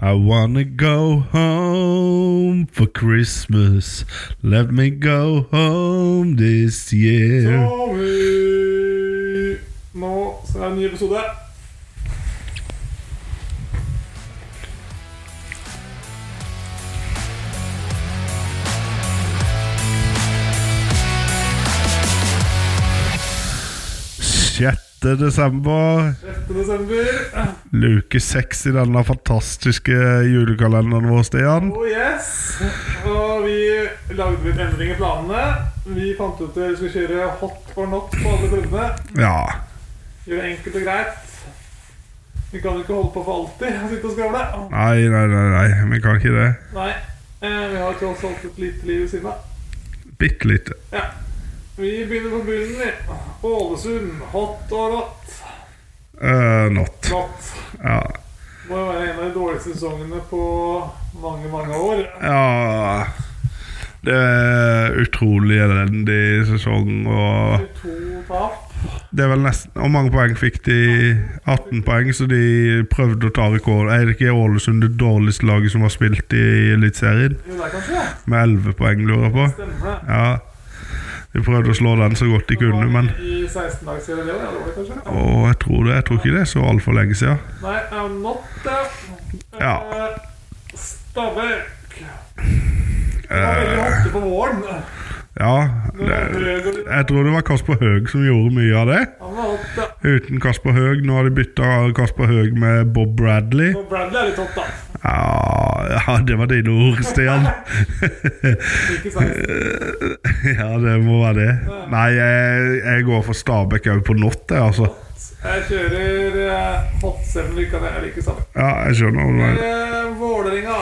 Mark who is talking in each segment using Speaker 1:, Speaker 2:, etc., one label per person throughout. Speaker 1: I wanna go home for Christmas. Let me go home this year.
Speaker 2: Sorry! Nå så er det en ny episode.
Speaker 1: Sjette desember.
Speaker 2: 6. desember.
Speaker 1: Luke seks i denne fantastiske julekalenderen vår, Stian.
Speaker 2: Oh yes! Og vi lagde litt endring i planene. Vi fant ut at vi skulle kjøre hot or not på alle kundene.
Speaker 1: Ja.
Speaker 2: Gjøre det enkelt og greit. Vi kan jo ikke holde på for alltid og sitte og skravle.
Speaker 1: Nei, nei, nei, nei. vi kan ikke det.
Speaker 2: Nei. Eh, vi har tross alt et lite liv ved siden av.
Speaker 1: Bitte lite.
Speaker 2: Ja. Vi begynner på bunnen, vi. Ålesund. Hot or not.
Speaker 1: Eh, not.
Speaker 2: Not.
Speaker 1: Ja.
Speaker 2: Det må jo være en av de dårligste sesongene på mange, mange år.
Speaker 1: ja Det er utrolig elendig sesong, og
Speaker 2: To tap.
Speaker 1: det er vel nesten Hvor mange poeng fikk de? 18 poeng, så de prøvde å ta rekord. Er det ikke Ålesund det dårligste laget som har spilt i Eliteserien?
Speaker 2: Jo, det er kanskje det.
Speaker 1: Med 11 poeng, lurer jeg på.
Speaker 2: Stemmer det.
Speaker 1: Ja. De prøvde å slå den så godt de kunne, men
Speaker 2: I 16-dagsserie, det var dårlig, kanskje?
Speaker 1: Og jeg tror det. Jeg tror ikke det er så altfor lenge siden.
Speaker 2: Nei, I'm not det.
Speaker 1: Ja. Eh,
Speaker 2: Eh, Stabæk. Det var veldig ofte på våren.
Speaker 1: Ja,
Speaker 2: Det var
Speaker 1: det,
Speaker 2: drøg og-
Speaker 1: jeg tror det var Kasper Høeg som gjorde mye av det.
Speaker 2: Han var hot, da.
Speaker 1: Uten Kasper Høeg. Nå har de bytta Kasper Høeg med Bob Bradley.
Speaker 2: Og Bradley er litt hot, da.
Speaker 1: Ja, ja det var dine ord, Stian.
Speaker 2: Ikke sant?
Speaker 1: ja, det må være det. Nei, jeg, jeg går for Stabæk òg på not, jeg, altså.
Speaker 2: Jeg kjører eh, hot selv om du ikke jeg liker Stabæk.
Speaker 1: Ja, jeg skjønner. hva du mener.
Speaker 2: Eh, Vålerenga.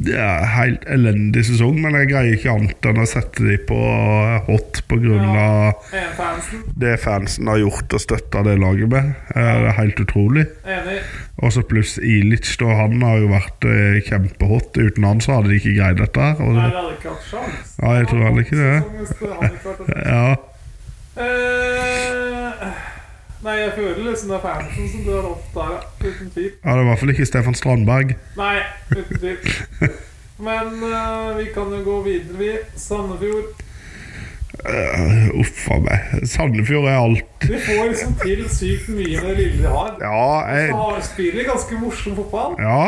Speaker 1: Det er helt elendig sesong, men jeg greier ikke annet enn å sette de på hot på grunn av
Speaker 2: Enfansen.
Speaker 1: det fansen har gjort og støtta det laget med. Eh, Det er helt utrolig.
Speaker 2: Enig.
Speaker 1: Og så pluss Ilic, da han har jo vært eh, kjempehot. Uten han så hadde de ikke greid dette her. Og
Speaker 2: Nei,
Speaker 1: det,
Speaker 2: det hadde ikke hatt sjans.
Speaker 1: Nei, jeg tror heller ikke det.
Speaker 2: Sesongen skulle han ikke vært oppe.
Speaker 1: ja,
Speaker 2: Eh, Nei, jeg føler liksom det er fansen som drar opp der, ja. uten tvil.
Speaker 1: ja, det var i hvert fall ikke Stefan Strandberg.
Speaker 2: Nei, uten tvil. Men eh, vi kan jo gå videre, vi. Sandefjord.
Speaker 1: Eh, Uff a meg. Sandefjord er alt
Speaker 2: Vi får liksom til sykt mye med det lille de har.
Speaker 1: Ja, jeg
Speaker 2: Så har- spiller de ganske morsom fotball.
Speaker 1: Ja.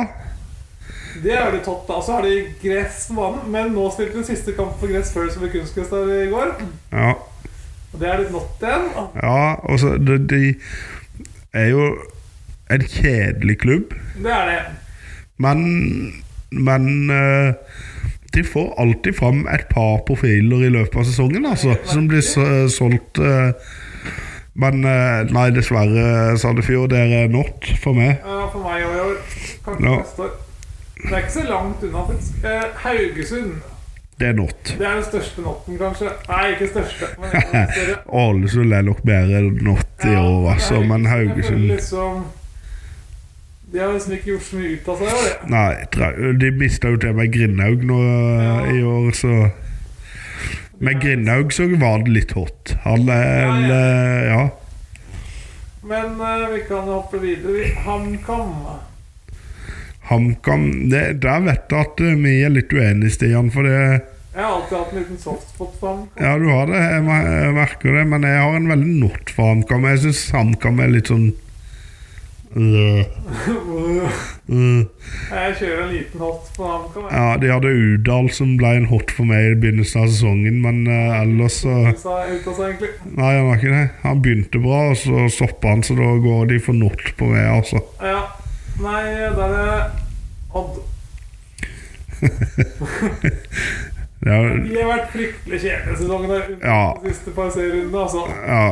Speaker 2: Det er jo litt topp, da. Så har de gress på banen. Men nå spilte de siste kamp for gress før som ble kunstgress der i går.
Speaker 1: Ja.
Speaker 2: Og det er litt not igjen.
Speaker 1: ja og så de, de er jo en kjedelig klubb,
Speaker 2: Det er det.
Speaker 1: men Men eh, de får alltid fram et par profiler i løpet av sesongen, altså, som blir s- solgt. eh, men eh, nei, dessverre, Sandefjord, dere er not for meg.
Speaker 2: Ja, for meg òg i år. Kanskje
Speaker 1: Ja.
Speaker 2: neste år. Det er ikke så langt unna, faktisk. Eh, Haugesund.
Speaker 1: Det er not.
Speaker 2: Det er den største notten, kanskje. Nei, ikke største, men en av de større.
Speaker 1: Ålesund er nok bedre enn not i år, altså, men
Speaker 2: Jeg føler
Speaker 1: Haugesund
Speaker 2: Liksom, de har liksom ikke gjort så mye ut av seg. i år, jeg.
Speaker 1: Nei, tra- de mista jo til meg Grindhaug nå eh, i år, så Med Grindhaug så var det litt hot. Han er en eh, Ja.
Speaker 2: Men eh, vi kan hoppe videre. Vi- HamKam.
Speaker 1: HamKam det- Der vet jeg at eh, vi er litt uenige, Stian, for det
Speaker 2: Jeg har alltid hatt en liten softspot for HamKam.
Speaker 1: Ja, du har det. Jeg mer- jeg merker det. Men jeg har en veldig not for HamKam. Jeg syns HamKam er litt sånn øh, øh.
Speaker 2: Jeg kjører en liten hot på HamKam. jeg.
Speaker 1: Ja, de hadde Udal som ble en hot for meg i begynnelsen av sesongen, men eh, ellers så
Speaker 2: Sa jeg ut av seg, egentlig.
Speaker 1: Nei, han var ikke det. Han begynte bra, og så stoppa han, så da går de for not på meg, altså.
Speaker 2: Ja. Nei, da er det Odd.
Speaker 1: Det er,
Speaker 2: De har vært fryktelig kjedelige sesongen der.
Speaker 1: Ja.
Speaker 2: De siste par serierundene, altså.
Speaker 1: ja.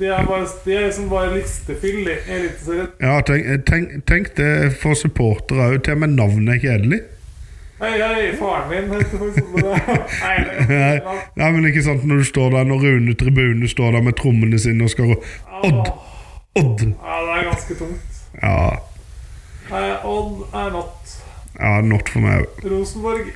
Speaker 2: De er, bare, de er liksom bare listefyll i Eliteserien.
Speaker 1: ja tenk, tenk, tenk det for supportere òg. Til og med navnet er kjedelig.
Speaker 2: Hei, hei, faren min heter for eksempel det. Nei, det
Speaker 1: Nei,
Speaker 2: er ikke
Speaker 1: nei, men ikke sant når du står der Når Rune Tribune står der med trommene sine og skal rå-
Speaker 2: Odd.
Speaker 1: Odd! Odd!
Speaker 2: Ja, det er ganske tungt.
Speaker 1: Ja,
Speaker 2: Nei, Odd er natt.
Speaker 1: ja not for meg òg.
Speaker 2: Rosenborg.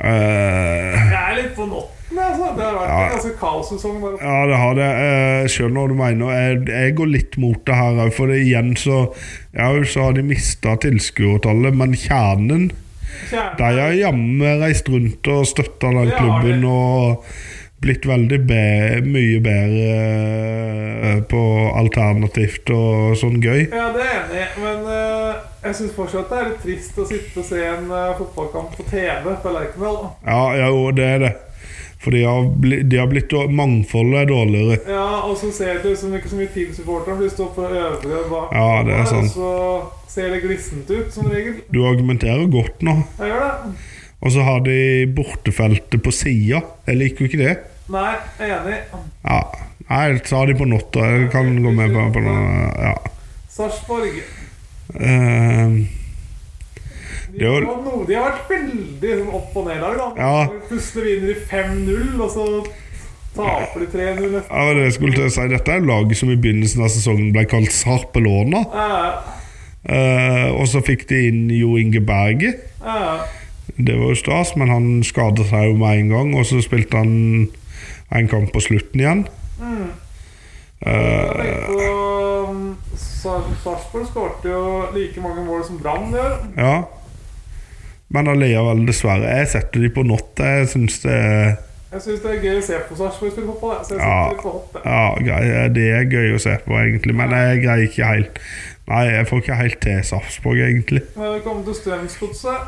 Speaker 1: Eh,
Speaker 2: Jeg er litt på notten, altså. Det har vært en ganske kaossesong der oppe.
Speaker 1: Ja, det har det. Eh, Skjønner hva du mener. Jeg, jeg går litt mot det her òg, for det, igjen så Ja, så har de mista tilskuertallet, men kjernen De
Speaker 2: Kjernen
Speaker 1: har jammen reist rundt og støtta den
Speaker 2: Det har de.
Speaker 1: klubben og blitt veldig be, mye bedre eh, på alternativt og sånn gøy.
Speaker 2: Ja, det er jeg enig i, men eh, jeg syns fortsatt det er litt trist å sitte og se en eh, fotballkamp på TV på Lerkendal.
Speaker 1: Ja, ja, jo, det er det. For de har, bli, de har blitt Mangfoldet er dårligere.
Speaker 2: Ja, og så ser det liksom ikke så mye TIL-supportere, for de står på øvre bak.
Speaker 1: Ja, det er
Speaker 2: der,
Speaker 1: sant.
Speaker 2: Og så ser det glissent ut, som regel.
Speaker 1: Du argumenterer godt nå.
Speaker 2: Jeg gjør det.
Speaker 1: Og så har de bortefeltet på sida. Jeg liker jo ikke det.
Speaker 2: Nei, jeg er enig.
Speaker 1: Ja. Nei, så har de på notta. Jeg kan gå med på, på noe. Ja.
Speaker 2: Sarpsborg.
Speaker 1: Ehm,
Speaker 2: De,
Speaker 1: Det var-
Speaker 2: var noe- de har vært veldig sånn, opp og ned i dag, da.
Speaker 1: Ja.
Speaker 2: Plutselig vinner de 5-0, og så taper de 3-0 nesten.
Speaker 1: ja, det skulle jeg til å si. Dette er laget som i begynnelsen av sesongen ble kalt Sarpelåna.
Speaker 2: Ja,
Speaker 1: Eh, og så fikk de inn Jo Inge Berge.
Speaker 2: ja.
Speaker 1: Det var jo stas, men han skadet seg jo med en gang. Og så spilte han en kamp på slutten igjen. Eh,
Speaker 2: Jeg tenkte på um, Sar- Sarpsborg skårte jo like mange mål som Brann gjør.
Speaker 1: Ja. Men allikevel, dessverre. Jeg setter de på natt. Jeg syns det er
Speaker 2: Jeg syns det er gøy å se på Sarpsborg spille fotball. jeg, Så jeg
Speaker 1: Ja.
Speaker 2: setter litt på hopp. jeg.
Speaker 1: Ja, grei- det er gøy å se på, egentlig, men jeg greier ikke helt Nei, jeg får ikke helt til Sarpsborg, egentlig.
Speaker 2: Når vi kommer til Strømsgodset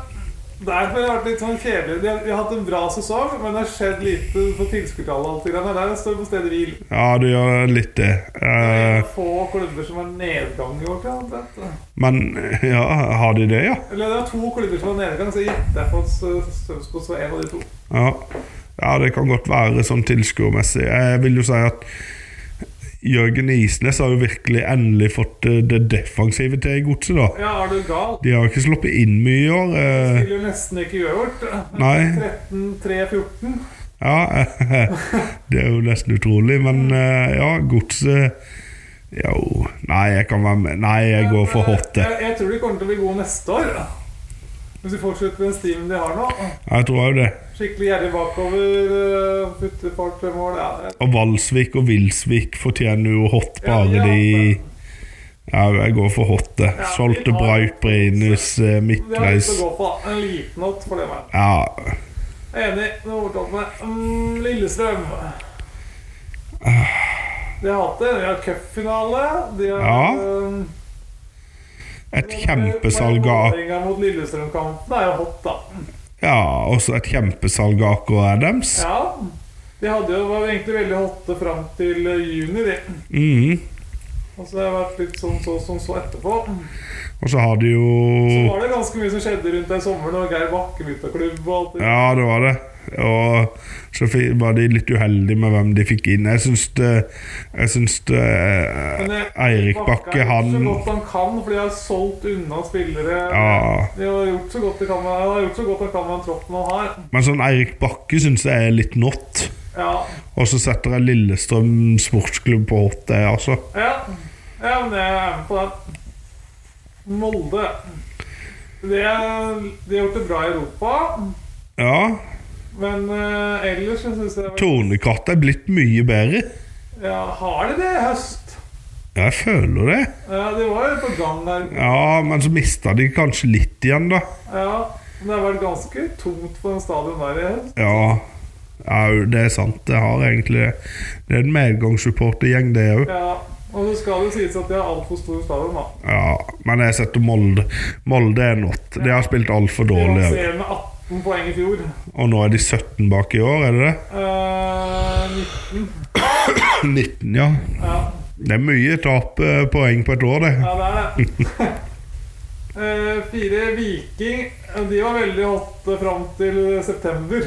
Speaker 2: Derfor har det vært litt sånn kjedelig. De har, de har hatt en bra sesong, men det har skjedd lite på tilskuertallet. og alt det greiene Der Det står på stedet hvil.
Speaker 1: Ja, du gjør litt det.
Speaker 2: Det
Speaker 1: Eh,
Speaker 2: er få klubber som har nedgang i år. tror jeg, omtrent.
Speaker 1: men ja, har de det, ja?
Speaker 2: Eller det er to klubber som har nedgang, så jeg gjetter på at uh, Strømsgodset var en av de to.
Speaker 1: Ja, ja det kan godt være sånn tilskuermessig. Jeg vil jo si at Jørgen Isnes har jo virkelig endelig fått det, det defensive til i godset, da.
Speaker 2: Ja, er du gal?
Speaker 1: De eh, har jo ikke sluppet inn mye i år. Eh,
Speaker 2: Spiller jo nesten ikke uavgjort.
Speaker 1: Nei.
Speaker 2: 13-3-14.
Speaker 1: Ja, det er jo nesten utrolig, men eh, ja, godset Jo, nei, jeg kan være med. Nei, jeg går for hot. jeg.
Speaker 2: Jeg, jeg tror de kommer til å bli gode neste år. Hvis de fortsetter den stimen de har nå.
Speaker 1: Jeg tror jo det.
Speaker 2: Skikkelig gjerrig bakover, øh, putte et par-tre mål. Ja, jeg-
Speaker 1: Og Valsvik og Vilsvik fortjener jo hot,
Speaker 2: Ja,
Speaker 1: bare
Speaker 2: ja.
Speaker 1: de Ja, jeg går for hot. jeg.
Speaker 2: Ja, vi
Speaker 1: Solte
Speaker 2: tar-
Speaker 1: Braut Brinus, eh,
Speaker 2: det har jeg lyst
Speaker 1: Midtreis
Speaker 2: til å gå på. da. En liten not for det meg.
Speaker 1: Ja,
Speaker 2: Jeg er Enig. Nå overtalte meg. Mm, Lillestrøm.
Speaker 1: Ah.
Speaker 2: De har hatt det. De har cupfinale. De har
Speaker 1: Ja.
Speaker 2: øh, eh,
Speaker 1: et kjempesalg av
Speaker 2: Vålerenga mot Lillestrøm-kampen er jo hot, da.
Speaker 1: Ja, også et kjempesalg av AK Adams.
Speaker 2: Ja. De hadde jo, var jo egentlig veldig hotte fram til øh, juni, de.
Speaker 1: Mhm.
Speaker 2: Og så har jeg vært litt sånn så som så etterpå.
Speaker 1: Og så har de
Speaker 2: Så
Speaker 1: jo
Speaker 2: var det ganske mye som skjedde rundt den sommeren, og Geir Bakke bytta klubb og alt det.
Speaker 1: Ja, det var det. Og så fi- var de litt uheldige med hvem de fikk inn. Jeg syns det, jeg syns det
Speaker 2: Men, eh,
Speaker 1: Eirik
Speaker 2: er
Speaker 1: Bakke,
Speaker 2: Så
Speaker 1: han
Speaker 2: godt han kan, for de har solgt unna spillere.
Speaker 1: Ja.
Speaker 2: De har gjort så godt de kan med, han har gjort så godt han kan med den troppen han har.
Speaker 1: Men sånn Eirik Bakke syns jeg er litt not.
Speaker 2: Ja.
Speaker 1: Og så setter jeg Lillestrøm sportsklubb på hot, det, altså.
Speaker 2: ja. Ja, men jeg er med på det. Molde. Det, de har gjort det bra i Europa,
Speaker 1: Ja.
Speaker 2: men eh, ellers så syns jeg
Speaker 1: Tornekatt er blitt mye bedre.
Speaker 2: ja, Har de det i høst?
Speaker 1: Ja, jeg føler det.
Speaker 2: Ja, de var jo på gang der.
Speaker 1: Ja, men så mista de kanskje litt igjen, da.
Speaker 2: Ja, men det har vært ganske tungt på den stadion der i høst.
Speaker 1: Ja. Au, det er sant. Det har egentlig det. Det er en medgangssupportergjeng, det òg.
Speaker 2: Ja, og så skal det sies at de har altfor stor stadion, da.
Speaker 1: Ja, men jeg setter Molde. Molde er nått. De har spilt altfor
Speaker 2: De var
Speaker 1: dårlig.
Speaker 2: serien med 18 poeng i fjor.
Speaker 1: Og nå er de 17 bak i år, er det det?
Speaker 2: Eh, 19.
Speaker 1: 19, ja.
Speaker 2: Ja,
Speaker 1: Det er mye tap eh, poeng på et år, det.
Speaker 2: ja det er det. Eh, fire Viking. eh, De var veldig hotte fram til september.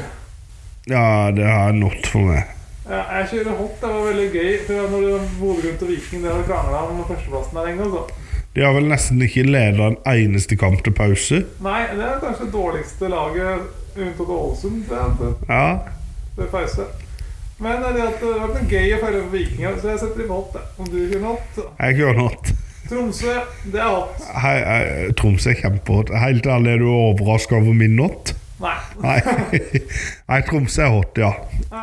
Speaker 1: Ja, det er nått for meg.
Speaker 2: Ja, jeg kjører hot. Det var veldig gøy. For jeg- når det- Bodø-Glimt og Viking det har krangla om førsteplassen der lenge. Altså.
Speaker 1: De har vel nesten ikke leda en eneste kamp til pause.
Speaker 2: Nei, det er kanskje det dårligste laget unntatt Ålesund. Det, det,
Speaker 1: Ja,
Speaker 2: Det er pause. Men eh, det at det har vært noe gøy å feire for Vikinger, så altså, jeg setter i hot. jeg. Om du kunne hatt
Speaker 1: jeg gjør nått.
Speaker 2: Tromsø, det er hot.
Speaker 1: Hei, hei, Troms er kjempehot. Helt ærlig, er du overraska over min nått?
Speaker 2: Nei.
Speaker 1: Nei. Nei, Tromsø er hot, ja.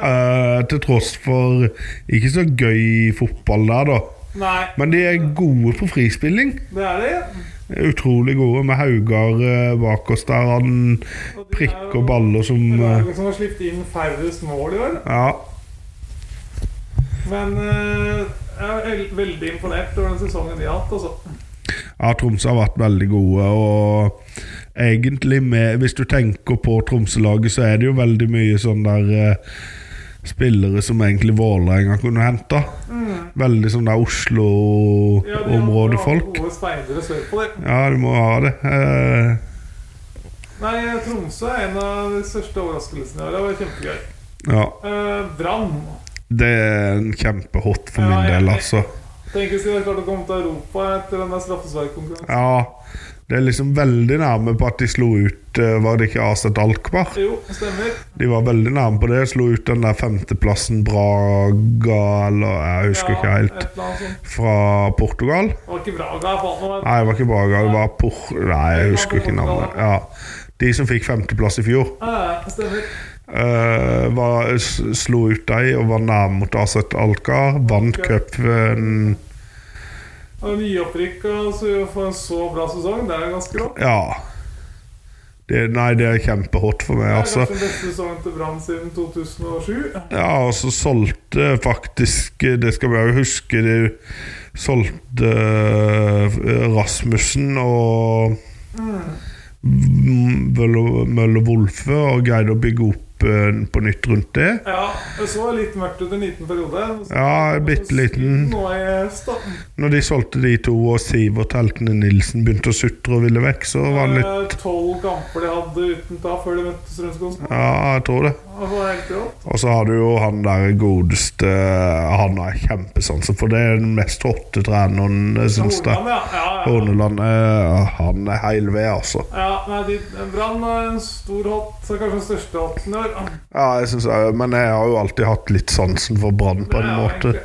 Speaker 1: Eh, til tross for ikke så gøy fotball der, da.
Speaker 2: Nei.
Speaker 1: Men de er gode på frispilling.
Speaker 2: Det er de.
Speaker 1: Utrolig gode med Haugar eh, bak oss der. Han
Speaker 2: Og de er jo
Speaker 1: prikker baller som eh,
Speaker 2: Laget som har sluppet inn færrest mål i år.
Speaker 1: Ja.
Speaker 2: Men eh, jeg er vel- veldig imponert over den sesongen de har hatt. Altså.
Speaker 1: Ja, Tromsø har vært veldig gode, og egentlig med Hvis du tenker på Tromsø-laget, så er det jo veldig mye sånn der eh, Spillere som egentlig Vålerenga kunne henta. Veldig sånn der
Speaker 2: Mm. Ja, de har-
Speaker 1: Oslo-områdefolk.
Speaker 2: har Gode speidere sørpå, de.
Speaker 1: Ja, du må ha det. Eh,
Speaker 2: Nei, Tromsø er en av de største overraskelsene i år. Det var kjempegøy.
Speaker 1: ja.
Speaker 2: Eh, Brann.
Speaker 1: Det er en kjempehot for
Speaker 2: Ja,
Speaker 1: min
Speaker 2: jeg-
Speaker 1: del, altså.
Speaker 2: Tenk hvis de hadde klart å komme til Europa etter den der straffesparkkonkurransen.
Speaker 1: Ja, det er liksom veldig nærme på at de slo ut eh, Var det ikke Aset Alkmaar?
Speaker 2: Jo, stemmer.
Speaker 1: De var veldig nærme på det. Slo ut den der femteplassen Braga eller Jeg husker ikke helt.
Speaker 2: Et eller annet sånt.
Speaker 1: Fra Portugal?
Speaker 2: Det var ikke Braga. Jeg fant noe.
Speaker 1: Nei, det var ikke Braga. Det var Por... Nei, jeg husker ikke navnet. Ja. De som fikk femteplass i fjor,
Speaker 2: Eh, stemmer.
Speaker 1: eh, var, s- slo ut dem og var nærme mot Aset Alkmaar. Vant cupen
Speaker 2: Og Nyopprykk og så får en så bra sesong. Det er ganske rått.
Speaker 1: Ja. Det, nei, det er kjempehot for meg,
Speaker 2: Det er
Speaker 1: altså.
Speaker 2: kanskje den beste sesongen til Brann siden 2007.
Speaker 1: Ja, og så solgte faktisk Det skal vi jo huske det Solgte eh, Rasmussen og
Speaker 2: Mm.
Speaker 1: M- Møller Møller Wolfe og greide å bygge opp eh, på nytt rundt det.
Speaker 2: Ja, det så litt mørkt ut en liten periode. Så-
Speaker 1: Ja, en bitte liten.
Speaker 2: Nå er jeg sta-
Speaker 1: Når de solgte de to, og Sivert Heltene Nilsen begynte å sutre og ville vekk, så var det litt
Speaker 2: Eh, Tolv kamper de hadde uten tap før de møtte Strømsgodset.
Speaker 1: Ja, jeg tror det.
Speaker 2: Det var helt rått.
Speaker 1: Og så har du jo han der godeste Han har jeg kjempesansen for. Det er den mest hotte treneren, syns jeg.
Speaker 2: Hordaland, ja. Ja, ja.
Speaker 1: Horneland eh, Han er heil ved, altså.
Speaker 2: Ja, nei, de, Brann er en stor hot, så kanskje den største hotten i år.
Speaker 1: Ja, jeg synes jeg, Men jeg har jo alltid hatt litt sansen for Brann, på en
Speaker 2: Ja,
Speaker 1: måte.
Speaker 2: egentlig.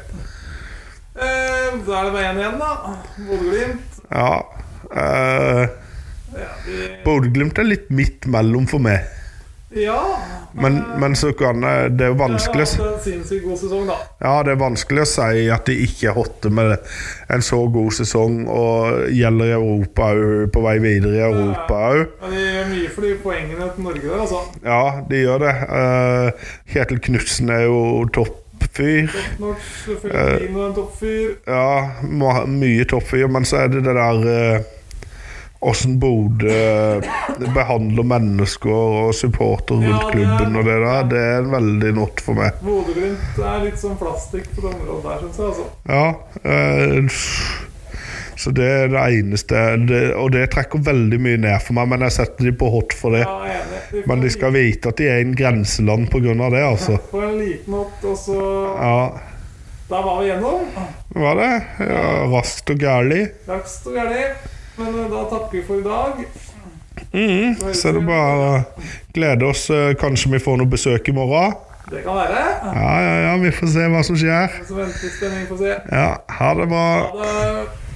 Speaker 2: Eh, da er det bare én igjen, da. Bodø-Glimt.
Speaker 1: Ja. Eh,
Speaker 2: Ja, de-
Speaker 1: Bodø-Glimt er litt midt mellom for meg.
Speaker 2: ja.
Speaker 1: Men, men så kan jeg Det er jo vanskelig å
Speaker 2: Det er en sinnssykt god sesong, da.
Speaker 1: Ja, det er vanskelig å si at de ikke er hotte med en så god sesong, og gjelder i Europa òg, på vei videre i Europa òg.
Speaker 2: Men de gjør mye for de poengene til Norge der, altså.
Speaker 1: Ja, de gjør det. Eh, Kjetil Knutsen er jo toppfyr. Eh.
Speaker 2: Norsk Filipino er en toppfyr.
Speaker 1: Ja, må ha mye toppfyr, men så er det det der eh, Åssen Bodø eh, behandler mennesker og supporter
Speaker 2: Ja,
Speaker 1: rundt
Speaker 2: det er-
Speaker 1: klubben og det der, det er veldig not for meg.
Speaker 2: Bodø-Glimt er litt sånn plastikk på det området der, syns jeg, altså.
Speaker 1: Ja. eh, så det er det eneste det, Og det trekker veldig mye ned for meg, men jeg setter de på hot for det.
Speaker 2: Ja, jeg er enig. får
Speaker 1: Men de
Speaker 2: en
Speaker 1: skal vite at de er i en grenseland pga. det, altså.
Speaker 2: liten- får en liten hot, og så
Speaker 1: Ja,
Speaker 2: Der var vi gjennom.
Speaker 1: var det? Ja, raskt og gærlig.
Speaker 2: Raks og gærlig. Men eh, da takker vi for i dag. Mhm.
Speaker 1: Så er det bare å glede oss. Eh, Kanskje vi får noe besøk i morgen.
Speaker 2: Det kan være.
Speaker 1: Ja, ja, ja, vi får se hva som skjer.
Speaker 2: Så venter vi i spenning på å se.
Speaker 1: Ja, ha det bra.
Speaker 2: Ha det.